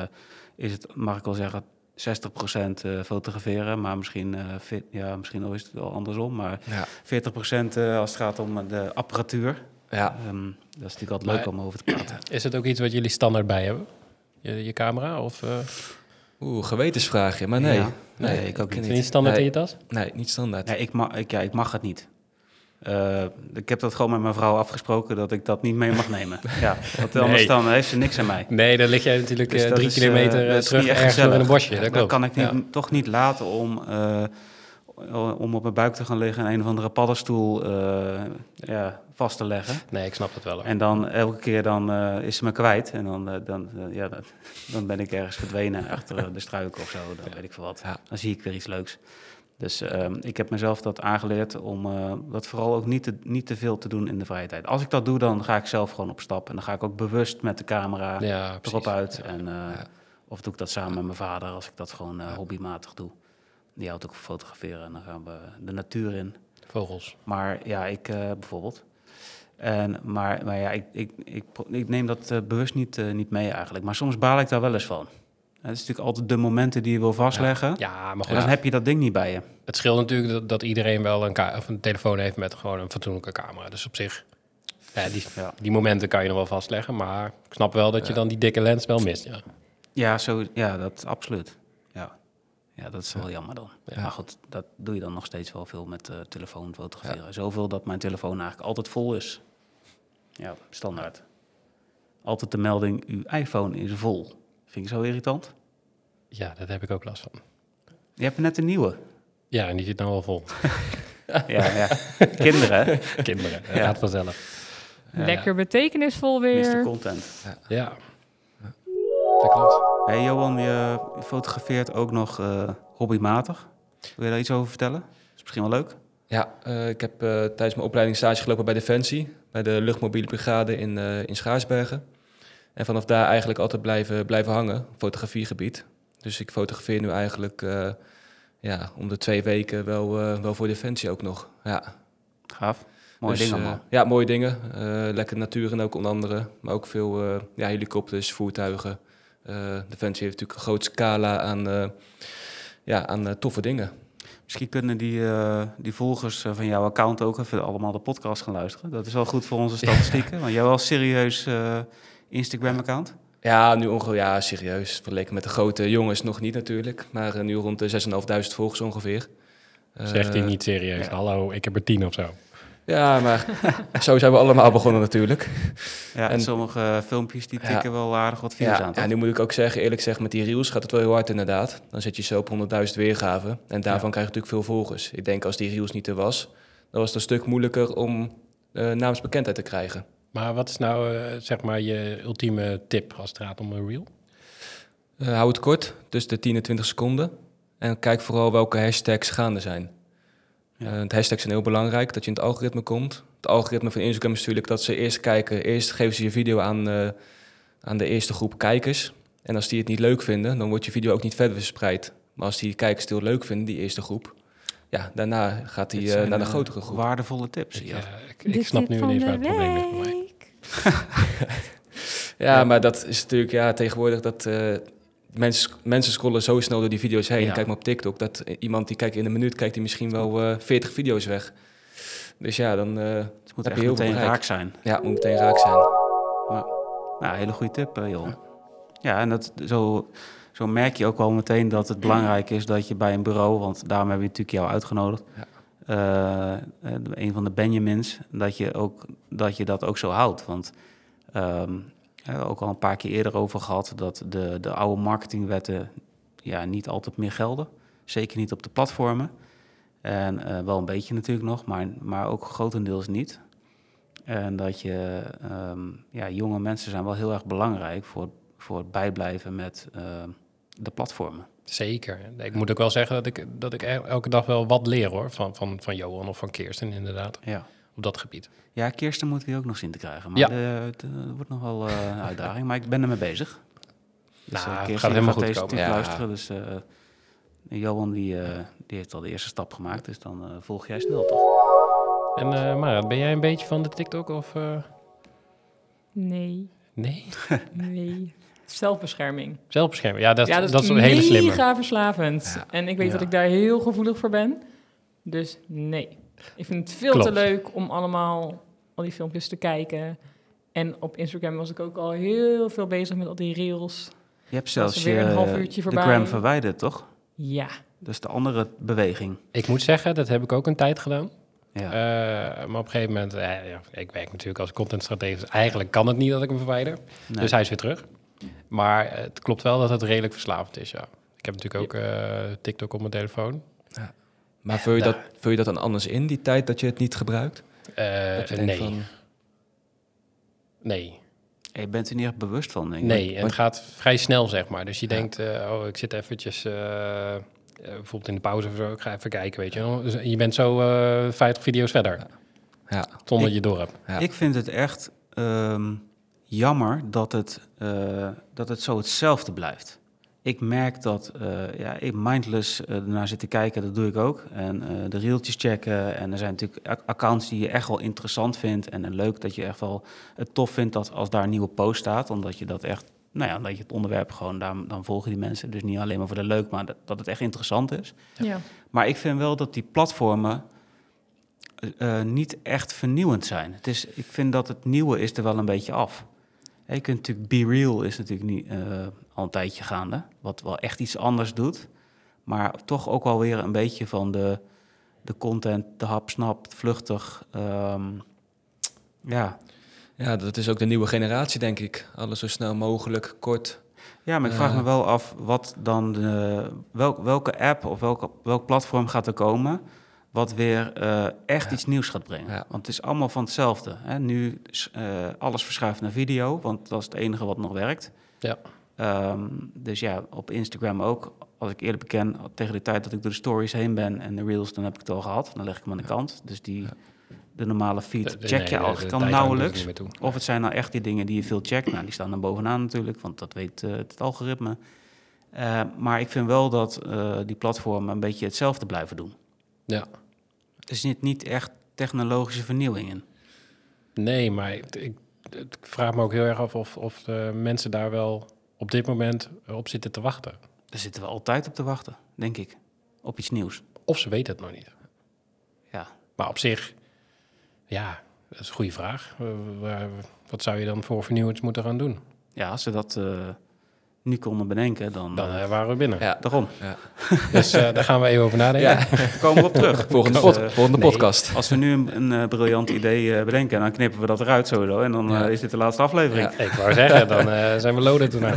Speaker 2: is het, mag ik wel zeggen, 60% eh, fotograferen. Maar misschien, eh, fit, ja, misschien is het wel andersom. Maar
Speaker 4: Ja.
Speaker 2: 40% eh, als het gaat om eh, de apparatuur.
Speaker 4: ja,
Speaker 2: Ehm, dat is natuurlijk altijd leuk
Speaker 3: Maar-
Speaker 2: om over te praten.
Speaker 3: Is het ook iets wat jullie standaard bij hebben? Je, je camera? Of eh,
Speaker 4: Oeh, gewetensvraagje, maar nee.
Speaker 2: Ja. Nee, ik ook
Speaker 4: ken
Speaker 3: is het niet standaard
Speaker 4: nee,
Speaker 3: in je tas?
Speaker 4: Nee, niet standaard.
Speaker 2: Nee, ik, mag, ik, ja, ik mag het niet. Eh, ik heb dat gewoon met mijn vrouw afgesproken dat ik dat niet mee mag nemen. Ja, want anders
Speaker 3: <laughs> Nee.
Speaker 2: dan heeft ze niks aan mij.
Speaker 3: Nee, dan lig jij natuurlijk
Speaker 2: Dus
Speaker 3: eh,
Speaker 2: dat
Speaker 3: drie
Speaker 2: is, eh,
Speaker 3: kilometer eh,
Speaker 2: dat is
Speaker 3: terug
Speaker 2: niet echt
Speaker 3: ergens door in een
Speaker 2: gezellig.
Speaker 3: bosje.
Speaker 2: Ja,
Speaker 3: dat
Speaker 2: dan
Speaker 3: klopt.
Speaker 2: kan ik niet,
Speaker 3: Ja.
Speaker 2: toch niet laten om, eh, om op mijn buik te gaan liggen en een of andere paddenstoel eh, ja, vast te leggen.
Speaker 3: Nee, ik snap het wel. hoor.
Speaker 2: En dan elke keer dan, eh, is ze me kwijt. En dan, eh, dan, <laughs> eh, ja, dat- dan ben ik ergens verdwenen achter eh, de struiken of zo. Dan weet ik veel wat.
Speaker 4: Ja.
Speaker 2: Dan zie ik weer iets leuks. Dus ehm, ik heb mezelf dat aangeleerd om eh, dat vooral ook niet te, niet te veel te doen in de vrije tijd. Als ik dat doe, dan ga ik zelf gewoon op stap. En dan ga ik ook bewust met de camera
Speaker 3: ja,
Speaker 2: erop
Speaker 3: precies.
Speaker 2: uit. En, eh, Of doe ik dat samen met mijn vader als ik dat gewoon eh, hobbymatig doe. Die houdt ook van fotograferen en dan gaan we de natuur in.
Speaker 3: Vogels.
Speaker 2: Maar ja, ik eh, bijvoorbeeld. En, maar, maar ja, ik, ik, ik, pro- ik neem dat eh, bewust niet, eh, niet mee eigenlijk. Maar soms baal ik daar wel eens van. dat is natuurlijk altijd de momenten die je wil vastleggen.
Speaker 3: Ja, maar
Speaker 2: En
Speaker 3: goed.
Speaker 2: dan heb je dat ding niet bij je.
Speaker 3: Het scheelt natuurlijk dat, dat iedereen wel een, ka- of een telefoon heeft met gewoon een fatsoenlijke camera. Dus op zich, ja, die,
Speaker 2: Ja.
Speaker 3: die momenten kan je nog wel vastleggen. Maar ik snap wel dat je dan die dikke lens wel mist. Ja.
Speaker 2: Ja, zo, ja dat absoluut. Ja. ja, dat is wel jammer dan. Maar goed, dat doe je dan nog steeds wel veel met eh, telefoon fotograferen. Zoveel dat mijn telefoon eigenlijk altijd vol is. Ja, standaard. Altijd de melding, uw iPhone is vol. Vind ik zo irritant.
Speaker 3: ja, dat heb ik ook last van.
Speaker 2: Je hebt net een nieuwe.
Speaker 3: Ja, en die zit nou al vol.
Speaker 2: Ja, ja. kinderen, hè?
Speaker 3: Kinderen, dat
Speaker 2: Ja.
Speaker 3: gaat vanzelf.
Speaker 1: Lekker betekenisvol
Speaker 2: Mr.
Speaker 1: weer.
Speaker 2: Content.
Speaker 3: Ja, dat klopt.
Speaker 2: Hey Johan, je fotografeert ook nog eh, hobbymatig. Wil je daar iets over vertellen? Is misschien wel leuk.
Speaker 4: Ja, eh, ik heb eh, tijdens mijn opleiding stage gelopen bij Defensie, bij de luchtmobiele brigade in, eh, in Schaarsbergen. En vanaf daar eigenlijk altijd blijven, blijven hangen, op fotografiegebied. Dus ik fotografeer nu eigenlijk eh, ja, om de twee weken wel, eh, wel voor Defensie ook nog. Ja.
Speaker 2: Gaaf. Mooie
Speaker 4: Dus,
Speaker 2: dingen
Speaker 4: eh,
Speaker 2: allemaal.
Speaker 4: ja, mooie dingen. Eh, lekker natuur en ook onder andere. Maar ook veel eh, ja, helikopters, voertuigen. Eh, Defensie heeft natuurlijk een groot scala aan, eh, ja, aan eh, toffe dingen.
Speaker 2: Misschien kunnen die, eh, die volgers eh, van jouw account ook even allemaal de podcast gaan luisteren. Dat is wel goed voor
Speaker 4: <laughs>
Speaker 2: onze statistieken. Want jij hebt wel een serieus eh, Instagram-account.
Speaker 4: Ja, nu ongeveer, ja, serieus. Vergeleken met de grote jongens nog niet natuurlijk. Maar eh, nu rond de 6.500 volgers ongeveer. Eh,
Speaker 3: Zegt hij niet serieus. Hallo, ik heb er tien of zo.
Speaker 4: Ja, maar <laughs> zo zijn we allemaal begonnen natuurlijk.
Speaker 2: Ja, en
Speaker 4: En-
Speaker 2: sommige eh, filmpjes die
Speaker 4: Ja.
Speaker 2: tikken wel aardig wat views
Speaker 4: Ja,
Speaker 2: aan.
Speaker 4: ja,
Speaker 2: toch?
Speaker 4: nu moet ik ook zeggen, eerlijk zeggen, met die reels gaat het wel heel hard inderdaad. Dan zit je zo op 100.000 weergaven. En daarvan krijg je natuurlijk veel volgers. Ik denk als die reels niet er was, dan was het een stuk moeilijker om eh naamsbekendheid te krijgen.
Speaker 3: Maar wat is nou, eh, zeg maar, je ultieme tip als het gaat om een reel?
Speaker 4: Eh, hou het kort, tussen de 10 en 20 seconden. En kijk vooral welke hashtags gaande zijn.
Speaker 2: Ja.
Speaker 4: Eh, want hashtags zijn heel belangrijk, dat je in het algoritme komt. Het algoritme van Instagram is natuurlijk dat ze eerst kijken... eerst geven ze je video aan, eh, aan de eerste groep kijkers. En als die het niet leuk vinden, dan wordt je video ook niet verder verspreid. Maar als die kijkers het heel leuk vinden, die eerste groep... ja, daarna gaat
Speaker 2: Dit
Speaker 4: die eh,
Speaker 2: zijn,
Speaker 4: naar de
Speaker 2: eh,
Speaker 4: grotere groep.
Speaker 2: Waardevolle tips.
Speaker 3: Ik,
Speaker 2: Ja.
Speaker 3: eh, ik, ik snap nu ineens waar het probleem ligt voor mij.
Speaker 4: Ja, maar dat is natuurlijk ja, tegenwoordig dat eh, mensen, mensen scrollen zo snel door die video's heen.
Speaker 2: Ja.
Speaker 4: Kijk maar op TikTok, dat iemand die kijkt in een minuut, kijkt die misschien wel eh 40 video's weg. Dus ja, dan eh,
Speaker 2: Het moet
Speaker 4: heb
Speaker 2: echt
Speaker 4: je heel veel
Speaker 2: meteen
Speaker 4: bereik.
Speaker 2: raak zijn.
Speaker 4: ja, moet meteen raak zijn.
Speaker 2: Nou, hele goede tip, eh, Johan. Ja, en dat, zo, zo merk je ook wel meteen dat het belangrijk is dat je bij een bureau, want daarom hebben we natuurlijk jou uitgenodigd,
Speaker 4: Ja.
Speaker 2: eh, eh, een van de Benjamins, dat je, ook, dat je dat ook zo houdt. Want ehm, hè, ook al een paar keer eerder over gehad dat de, de oude marketingwetten ja, niet altijd meer gelden. Zeker niet op de platformen. En eh, wel een beetje natuurlijk nog, maar, maar ook grotendeels niet. En dat je, ehm, ja, jonge mensen zijn wel heel erg belangrijk voor, voor het bijblijven met ehm, de platformen.
Speaker 3: Zeker. Ik moet ook wel zeggen dat ik, dat ik el- elke dag wel wat leer hoor. Van, van, van Johan of van Kirsten inderdaad.
Speaker 2: Ja.
Speaker 3: Op dat gebied.
Speaker 2: Ja, Kirsten moeten we ook nog zien te krijgen. Maar
Speaker 3: Ja.
Speaker 2: de- het eh, wordt nog wel eh, een uitdaging, maar ik ben ermee bezig. Dus, eh,
Speaker 3: Nou,
Speaker 2: Kirsten
Speaker 3: gaat helemaal goed
Speaker 2: deze
Speaker 3: komen.
Speaker 2: natuurlijk
Speaker 4: Ja.
Speaker 2: luisteren. Dus eh, Johan die, eh, die heeft al de eerste stap gemaakt, dus dan eh, volg jij snel toch?
Speaker 3: En eh Mara, ben jij een beetje van de TikTok of... eh,
Speaker 1: Nee,
Speaker 3: Nee?
Speaker 1: nee. Zelfbescherming.
Speaker 3: Zelfbescherming. Ja, dat,
Speaker 1: ja,
Speaker 3: dat, is een hele slimme.
Speaker 1: mega verslavend. En ik weet
Speaker 2: Ja.
Speaker 1: dat ik daar heel gevoelig voor ben. Dus nee. Ik vind het veel
Speaker 3: Klopt.
Speaker 1: te leuk om allemaal al die filmpjes te kijken. En op Instagram was ik ook al heel veel bezig met al die reels.
Speaker 2: Je hebt
Speaker 1: zelfs
Speaker 2: zelfs
Speaker 1: weer een
Speaker 2: je, eh,
Speaker 1: half uurtje
Speaker 2: de
Speaker 1: voorbij.
Speaker 2: gram verwijderd, toch?
Speaker 1: Ja,
Speaker 2: Dat is de andere beweging.
Speaker 3: Ik moet zeggen, dat heb ik ook een tijd gedaan.
Speaker 2: Ja.
Speaker 3: Eh, maar op een gegeven moment... eh, ja, ik werk natuurlijk als contentstratege. Dus eigenlijk kan het niet dat ik hem verwijder.
Speaker 2: Nee.
Speaker 3: Dus hij is weer terug. Maar eh, het klopt wel dat het redelijk verslavend is, ja. Ik heb natuurlijk ook eh, TikTok op mijn telefoon.
Speaker 4: Maar vul je, dat, vul je dat dan anders in, die tijd dat je het niet gebruikt?
Speaker 3: Eh,
Speaker 4: Dat je denkt
Speaker 3: nee,
Speaker 4: van,
Speaker 3: nee.
Speaker 2: je bent er niet echt bewust van, denk ik.
Speaker 3: Nee, en het
Speaker 4: want-
Speaker 3: gaat vrij snel, zeg maar. Dus je denkt, eh, oh, ik zit eventjes, eh, eh, bijvoorbeeld in de pauze of zo, ik ga even kijken, weet je. wel. Dus je bent zo eh 50 video's verder,
Speaker 4: ja,
Speaker 3: zonder
Speaker 2: Ik-
Speaker 3: je door hebt.
Speaker 4: Ja.
Speaker 2: Ik vind het echt ehm, jammer dat het, eh, dat het zo hetzelfde blijft. Ik merk dat eh, ja, ik mindless eh, ernaar zit te kijken, dat doe ik ook. En eh, de reeltjes checken. En er zijn natuurlijk ac- accounts die je echt wel interessant vindt. En, eh, leuk dat je echt wel het tof vindt dat als daar een nieuwe post staat. Omdat je dat echt nou ja, dat je het onderwerp gewoon, dan, dan volgen die mensen. Dus niet alleen maar voor de leuk, maar dat, dat het echt interessant is.
Speaker 1: Ja.
Speaker 2: Maar ik vind wel dat die platformen eh, niet echt vernieuwend zijn. Het is, ik vind dat het nieuwe is er wel een beetje af. Hè, Je kunt natuurlijk Be Real is natuurlijk niet, eh, al een tijdje gaande, wat wel echt iets anders doet. Maar toch ook wel weer een beetje van de, de content, de hap, snap, vluchtig. ehm, ja.
Speaker 4: Ja, dat is ook de nieuwe generatie, denk ik. Alles zo snel mogelijk, kort.
Speaker 2: ja, maar ik vraag
Speaker 4: Eh.
Speaker 2: me wel af wat dan de, welk, welke app of welke, welk platform gaat er komen. Wat weer eh, echt iets nieuws gaat brengen.
Speaker 4: Ja.
Speaker 2: Want het is allemaal van hetzelfde. Hè? Nu is eh, alles verschuift naar video, want dat is het enige wat nog werkt.
Speaker 3: Ja.
Speaker 2: Ehm, dus ja, op Instagram ook. Als ik eerlijk beken, tegen de tijd dat ik door de stories heen ben en de reels, dan heb ik het al gehad. Dan leg ik hem aan de kant. Dus die, de normale feed
Speaker 3: Eh, Nee,
Speaker 2: check je
Speaker 3: de-
Speaker 2: al.
Speaker 3: de
Speaker 2: Je
Speaker 3: tijd
Speaker 2: kan
Speaker 3: hangt er
Speaker 2: nauwelijks.
Speaker 3: niet meer toe.
Speaker 2: Of het zijn nou echt die dingen die je veel checkt. Nou, die staan dan bovenaan natuurlijk, want dat weet eh, het algoritme. Eh, maar ik vind wel dat eh, die platformen een beetje hetzelfde blijven doen.
Speaker 3: Ja.
Speaker 2: Er zit niet echt technologische vernieuwing in.
Speaker 3: Nee, maar ik, ik, ik vraag me ook heel erg af of, of de mensen daar wel op dit moment eh, op zitten te wachten.
Speaker 2: Daar zitten we altijd op te wachten, denk ik. Op iets nieuws.
Speaker 3: Of ze weten het nog niet.
Speaker 2: Ja.
Speaker 3: Maar op zich, ja, dat is een goede vraag. Eh, waar- wat zou je dan voor vernieuwends moeten gaan doen?
Speaker 2: Ja, als ze dat eh, nu konden bedenken, dan...
Speaker 3: Dan
Speaker 2: eh,
Speaker 3: eh, waren we binnen.
Speaker 4: Ja,
Speaker 2: daarom. <laughs>
Speaker 3: Dus eh, daar gaan we even over nadenken.
Speaker 4: ja.
Speaker 2: We komen we op terug.
Speaker 4: <laughs> volgende,
Speaker 2: Dus,
Speaker 4: pod-
Speaker 2: eh,
Speaker 4: volgende
Speaker 3: nee.
Speaker 4: podcast.
Speaker 2: als we nu een, een eh, briljant idee eh, bedenken, dan knippen we dat eruit sowieso. En dan
Speaker 4: Ja.
Speaker 2: eh, is dit de laatste aflevering.
Speaker 3: Ik wou zeggen, dan eh, zijn we loaded daarna.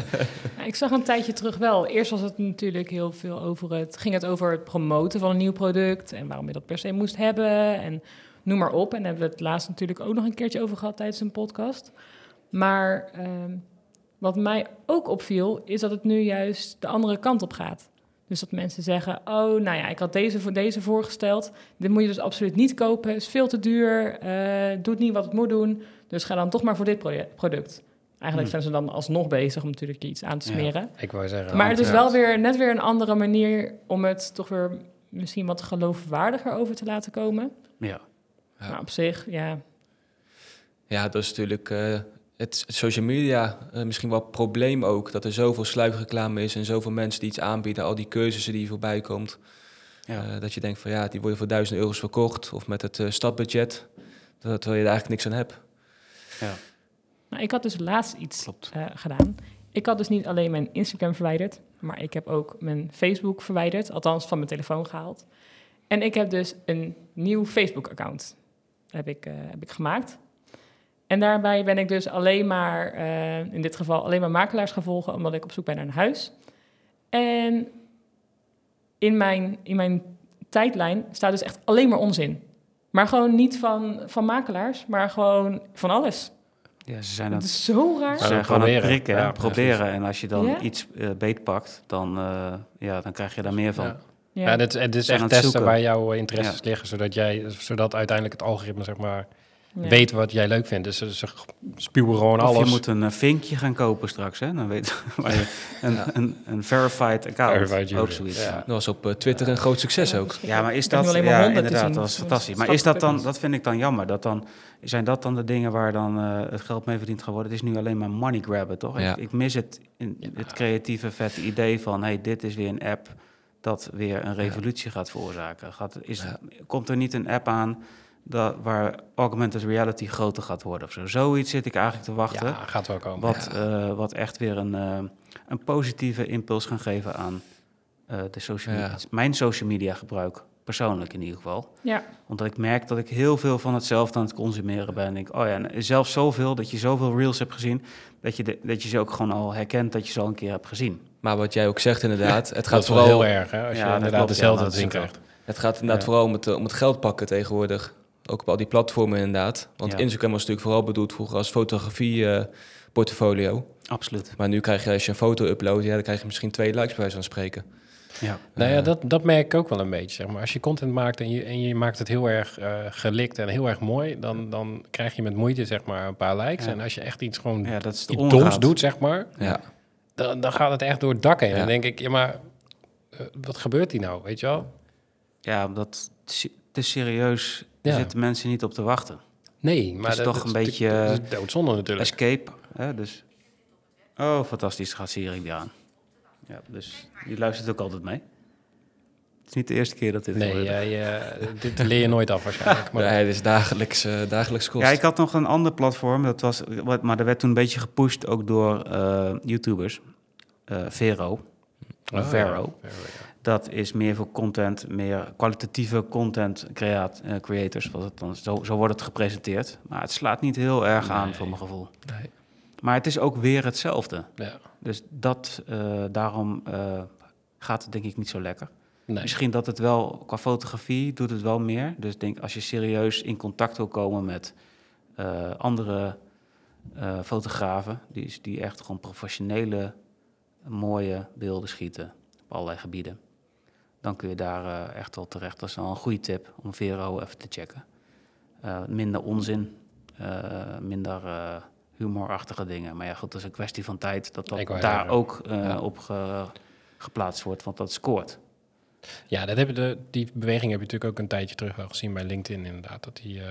Speaker 1: Nou, Ik zag een tijdje terug wel. Eerst was het natuurlijk heel veel over het. Ging het over het promoten van een nieuw product en waarom je dat per se moest hebben en noem maar op. En daar hebben we het laatst natuurlijk ook nog een keertje over gehad tijdens een podcast. Maar ehm, wat mij ook opviel is dat het nu juist de andere kant op gaat. Dus dat mensen zeggen: Oh, nou ja, ik had deze voor deze voorgesteld. Dit moet je dus absoluut niet kopen. Is veel te duur. eh, doet niet wat het moet doen. Dus ga dan toch maar voor dit proje- product. Eigenlijk
Speaker 2: Hmm.
Speaker 1: zijn ze dan alsnog bezig om natuurlijk iets aan te
Speaker 2: Ja.
Speaker 1: smeren.
Speaker 3: Ik wou zeggen.
Speaker 1: Maar het is wel
Speaker 4: Uiteraard.
Speaker 1: weer net weer een andere manier om het toch weer misschien wat geloofwaardiger over te laten komen.
Speaker 2: Ja.
Speaker 4: Ja.
Speaker 1: Maar op zich, ja.
Speaker 4: Ja, dat is natuurlijk eh, het social media eh, misschien wel een probleem ook. Dat er zoveel sluikreclame is en zoveel mensen die iets aanbieden. Al die cursussen die voorbij komt.
Speaker 2: Ja.
Speaker 4: Eh, dat je denkt van ja, die worden voor duizend euro's verkocht. Of met het eh, stadbudget. dat- Terwijl je er eigenlijk niks aan hebt.
Speaker 1: Nou, ik had dus laatst iets
Speaker 2: Klopt.
Speaker 1: eh, gedaan. Ik had dus niet alleen mijn Instagram verwijderd, maar ik heb ook mijn Facebook verwijderd, althans van mijn telefoon gehaald. En ik heb dus een nieuw Facebook-account heb ik, eh, heb ik gemaakt. En daarbij ben ik dus alleen maar, eh, in dit geval alleen maar makelaars gaan volgen, omdat ik op zoek ben naar een huis. En in mijn, in mijn tijdlijn staat dus echt alleen maar onzin. Maar gewoon niet van, van makelaars, maar gewoon van alles.
Speaker 2: ja, ze zijn aan
Speaker 1: Dat
Speaker 2: het,
Speaker 1: is zo raar.
Speaker 2: ze zijn
Speaker 3: Ja,
Speaker 2: gewoon aan het
Speaker 3: proberen.
Speaker 2: prikken, hè,
Speaker 3: Ja, precies.
Speaker 2: proberen. En als je dan
Speaker 1: Ja.
Speaker 2: iets eh, beetpakt, dan, eh, ja, dan krijg je daar meer van.
Speaker 3: eh, Ja.
Speaker 1: Ja.
Speaker 3: Ja, dit, dit is
Speaker 2: Zijn aan
Speaker 3: echt
Speaker 2: het
Speaker 3: testen
Speaker 2: zoeken.
Speaker 3: waar jouw eh, interesses liggen, zodat, jij, zodat uiteindelijk het algoritme zeg maar,
Speaker 1: Ja.
Speaker 3: weet wat jij leuk vindt. Dus ze, ze spuwen gewoon
Speaker 2: Of
Speaker 3: alles.
Speaker 2: je moet een eh, vinkje gaan kopen straks, hè? Dan weet <laughs> waar je een, een, een verified account.
Speaker 3: Verified
Speaker 2: ook
Speaker 3: user.
Speaker 2: zoiets.
Speaker 3: Ja.
Speaker 2: Ja.
Speaker 4: Dat was op eh, Twitter een groot succes ook.
Speaker 2: Ja, maar is
Speaker 1: Ik heb nu
Speaker 2: dat...
Speaker 1: alleen maar
Speaker 2: Ja,
Speaker 1: honden te
Speaker 2: inderdaad,
Speaker 1: zien.
Speaker 2: dat is
Speaker 1: Dus
Speaker 2: fantastisch. Maar
Speaker 1: dat
Speaker 2: is dat
Speaker 1: betekent
Speaker 2: dan... Dat vind ik dan jammer. Dat dan, zijn dat dan de dingen waar dan eh, het geld mee verdiend gaat worden? Het is nu alleen maar money grabben, toch?
Speaker 4: Ja.
Speaker 2: Ik, ik mis het, in, het creatieve, vette idee van... hey, dit is weer een app dat weer een revolutie gaat veroorzaken. Gaat, is,
Speaker 4: Ja.
Speaker 2: Komt er niet een app aan dat, waar augmented reality groter gaat worden of zo? Zoiets zit ik eigenlijk te wachten.
Speaker 3: ja, gaat wel komen.
Speaker 2: Wat, eh, wat echt weer een, eh, een positieve impuls gaan geven aan eh, de social media.
Speaker 4: Ja.
Speaker 2: Mijn social media gebruik, persoonlijk in ieder geval.
Speaker 1: <laughs> Ja.
Speaker 2: Omdat ik merk dat ik heel veel van hetzelfde aan het consumeren ben. En ik, oh ja, en zelfs zoveel dat je zoveel reels hebt gezien, dat je, de- dat je ze ook gewoon al herkent dat je ze al een keer hebt gezien.
Speaker 4: Maar wat jij ook zegt
Speaker 3: <laughs>
Speaker 4: inderdaad. Het
Speaker 3: dat
Speaker 4: gaat
Speaker 3: is wel heel
Speaker 4: vooral,
Speaker 3: erg, hè, als
Speaker 2: Ja,
Speaker 3: je
Speaker 2: dat
Speaker 3: inderdaad
Speaker 2: klopt,
Speaker 3: hetzelfde
Speaker 2: ja,
Speaker 3: te
Speaker 2: dat
Speaker 3: zien
Speaker 2: is ook
Speaker 3: krijgt.
Speaker 4: het gaat inderdaad
Speaker 2: Ja.
Speaker 4: vooral om het, eh, om het geld pakken tegenwoordig. Ook op al die platformen inderdaad. Want
Speaker 2: Ja.
Speaker 4: Instagram was natuurlijk vooral bedoeld vroeger als fotografie eh, portfolio.
Speaker 2: Absoluut.
Speaker 4: Maar nu krijg je als je een foto uploadt, ja, dan krijg je misschien twee likes bij wijze van spreken.
Speaker 2: Ja.
Speaker 3: Nou ja, dat, dat merk ik ook wel een beetje. Zeg maar. Als je content maakt en je, en je maakt het heel erg eh, gelikt en heel erg mooi, dan, dan krijg je met moeite zeg maar, een paar likes.
Speaker 2: Ja.
Speaker 3: En als je echt iets gewoon
Speaker 2: ja, dat is de
Speaker 3: iets
Speaker 2: onraad.
Speaker 3: doms doet, zeg maar,
Speaker 4: Ja,
Speaker 3: dan, dan gaat het echt door het dak heen. En
Speaker 4: Ja.
Speaker 3: dan denk ik, ja, maar eh, wat gebeurt hier nou, weet je wel?
Speaker 2: Ja, omdat het se- te serieus er
Speaker 3: Ja.
Speaker 2: zitten mensen niet op te wachten.
Speaker 3: Nee, maar
Speaker 2: is toch een beetje, eh,
Speaker 3: Dat is doodzonde natuurlijk.
Speaker 2: Escape, hè, dus Oh, fantastisch. Gaat Siering die aan. Ja, dus die luistert ook altijd mee. Het is niet de eerste keer dat dit
Speaker 3: Nee,
Speaker 2: gebeurt.
Speaker 3: eh, je- dit leer je nooit
Speaker 2: <laughs>
Speaker 3: af waarschijnlijk. Maar
Speaker 4: Maar nee, dit is dagelijks, eh, dagelijks kost.
Speaker 2: Ja, ik had nog een ander platform, dat was, wat- maar dat werd toen een beetje gepusht ook door eh, YouTubers. Eh, Vero.
Speaker 3: Oh, ja.
Speaker 2: Vero.
Speaker 3: Vero, ja.
Speaker 2: Dat is meer voor content, meer kwalitatieve content creat, eh, creators. Was het dan. Zo, zo wordt het gepresenteerd. Maar het slaat niet heel erg aan,
Speaker 3: Nee.
Speaker 2: voor mijn gevoel.
Speaker 3: Nee.
Speaker 2: Maar het is ook weer hetzelfde.
Speaker 3: Ja.
Speaker 2: Dus dat, eh, daarom eh, gaat het denk ik niet zo lekker.
Speaker 3: Nee.
Speaker 2: Misschien dat het wel, qua fotografie doet het wel meer. Dus ik denk als je serieus in contact wil komen met eh, andere eh, fotografen, die, die echt gewoon professionele, mooie beelden schieten op allerlei gebieden, dan kun je daar eh, echt wel terecht. Dat is wel een goede tip om Vero even te checken. Eh, minder onzin, eh, minder eh, humorachtige dingen. Maar ja, goed, dat is een kwestie van tijd dat dat
Speaker 3: Ik wou
Speaker 2: daar
Speaker 3: zeggen.
Speaker 2: ook eh,
Speaker 4: Ja.
Speaker 2: op ge- geplaatst wordt, want dat scoort.
Speaker 3: Ja, dat hebben de, die beweging heb je natuurlijk ook een tijdje terug wel gezien bij LinkedIn inderdaad. Dat die, eh,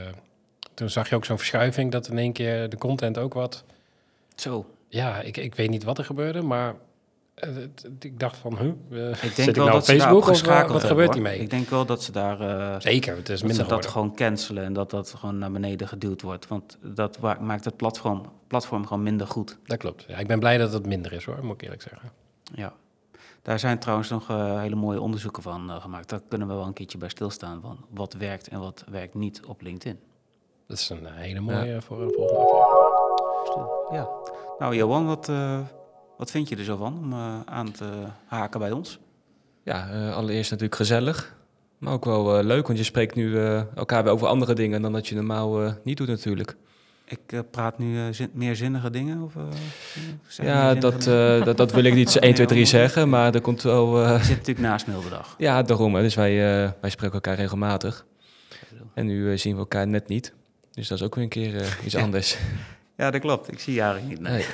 Speaker 3: toen zag je ook zo'n verschuiving dat in één keer de content ook wat...
Speaker 2: Zo.
Speaker 3: Ja, ik, ik weet niet wat er gebeurde, maar eh, het- het- ik dacht van, huh? eh,
Speaker 2: Ik
Speaker 3: zit
Speaker 2: denk wel
Speaker 3: nou
Speaker 2: dat
Speaker 3: op
Speaker 2: ze daar
Speaker 3: Facebook of eh,
Speaker 2: geschakeld
Speaker 3: wat
Speaker 2: hebben,
Speaker 3: gebeurt
Speaker 2: hoor.
Speaker 3: hiermee?
Speaker 2: Ik denk wel dat ze daar eh,
Speaker 3: Zeker, het is
Speaker 2: dat, ze
Speaker 3: minder
Speaker 2: dat
Speaker 3: geworden.
Speaker 2: gewoon cancelen en dat dat gewoon naar beneden geduwd wordt. Want dat wa- maakt het platform, platform gewoon minder goed.
Speaker 3: Dat klopt. Ja, ik ben blij dat het minder is hoor, moet ik eerlijk zeggen.
Speaker 2: Ja. Daar zijn trouwens nog eh, hele mooie onderzoeken van eh, gemaakt. Daar kunnen we wel een keertje bij stilstaan van wat werkt en wat werkt niet op LinkedIn.
Speaker 3: Dat is een eh, hele mooie voor een volgende aflevering.
Speaker 2: Ja. Nou, Johan, wat, eh, wat vind je er zo van om eh, aan te haken bij ons?
Speaker 4: Ja, eh, allereerst natuurlijk gezellig. Maar ook wel eh, leuk, want je spreekt nu eh, elkaar weer over andere dingen dan dat je normaal eh, niet doet natuurlijk.
Speaker 2: Ik eh, praat nu eh, zin- meer zinnige dingen? Of, eh, zeg meer
Speaker 4: ja,
Speaker 2: zinnige
Speaker 4: dat,
Speaker 2: dingen?
Speaker 4: eh, dat, dat wil ik
Speaker 2: <laughs>
Speaker 4: niet zo 1, 2, 3 zeggen, maar er komt wel... eh,
Speaker 2: Ik zit natuurlijk naast Milderdag.
Speaker 4: ja, daarom. Hè. Dus wij, eh, wij spreken elkaar regelmatig. En nu eh, zien we elkaar net niet. Dus dat is ook weer een keer eh, iets anders.
Speaker 2: Ja, dat klopt. Ik zie Jari niet. Nee.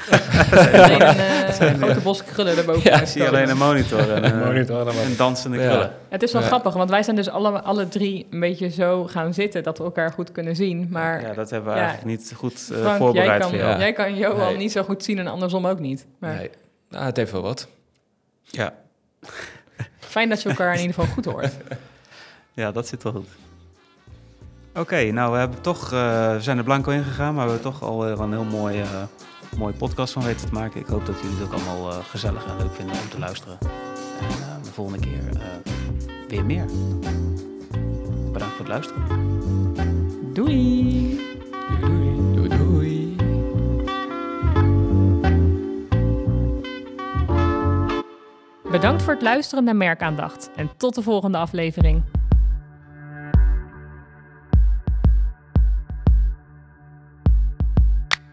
Speaker 1: <laughs>
Speaker 4: Nee.
Speaker 1: Alleen een eh, grote bos krullen daarboven.
Speaker 4: Ja,
Speaker 2: Ik zie alleen een monitor en, eh,
Speaker 3: Monitor, dan wat.
Speaker 2: en dansende
Speaker 4: Ja.
Speaker 2: krullen.
Speaker 1: Het is wel
Speaker 4: Ja.
Speaker 1: grappig, want wij zijn dus alle, alle drie een beetje zo gaan zitten dat we elkaar goed kunnen zien. Maar
Speaker 2: Ja, dat hebben we
Speaker 1: Ja. eh,
Speaker 2: eigenlijk niet goed eh,
Speaker 1: Frank, jij
Speaker 2: voorbereid
Speaker 1: kan,
Speaker 2: voor jou.
Speaker 4: ja.
Speaker 1: jij kan Johan
Speaker 4: Nee.
Speaker 1: niet zo goed zien en andersom ook niet. Maar
Speaker 4: Nee. Nou, het heeft wel wat.
Speaker 2: Ja.
Speaker 1: fijn dat je elkaar in ieder geval goed hoort.
Speaker 2: ja, dat zit wel goed. Oké, nou we, hebben toch, eh, we zijn er blanco in gegaan, maar we hebben toch alweer een heel mooie, eh, mooie podcast van weten te maken. Ik hoop dat jullie het ook allemaal eh, gezellig en leuk vinden om te luisteren. En eh, de volgende keer eh, weer meer. Bedankt voor het luisteren.
Speaker 1: Doei!
Speaker 4: Doei, doei.
Speaker 1: Bedankt voor het luisteren naar Merkaandacht en tot de volgende aflevering.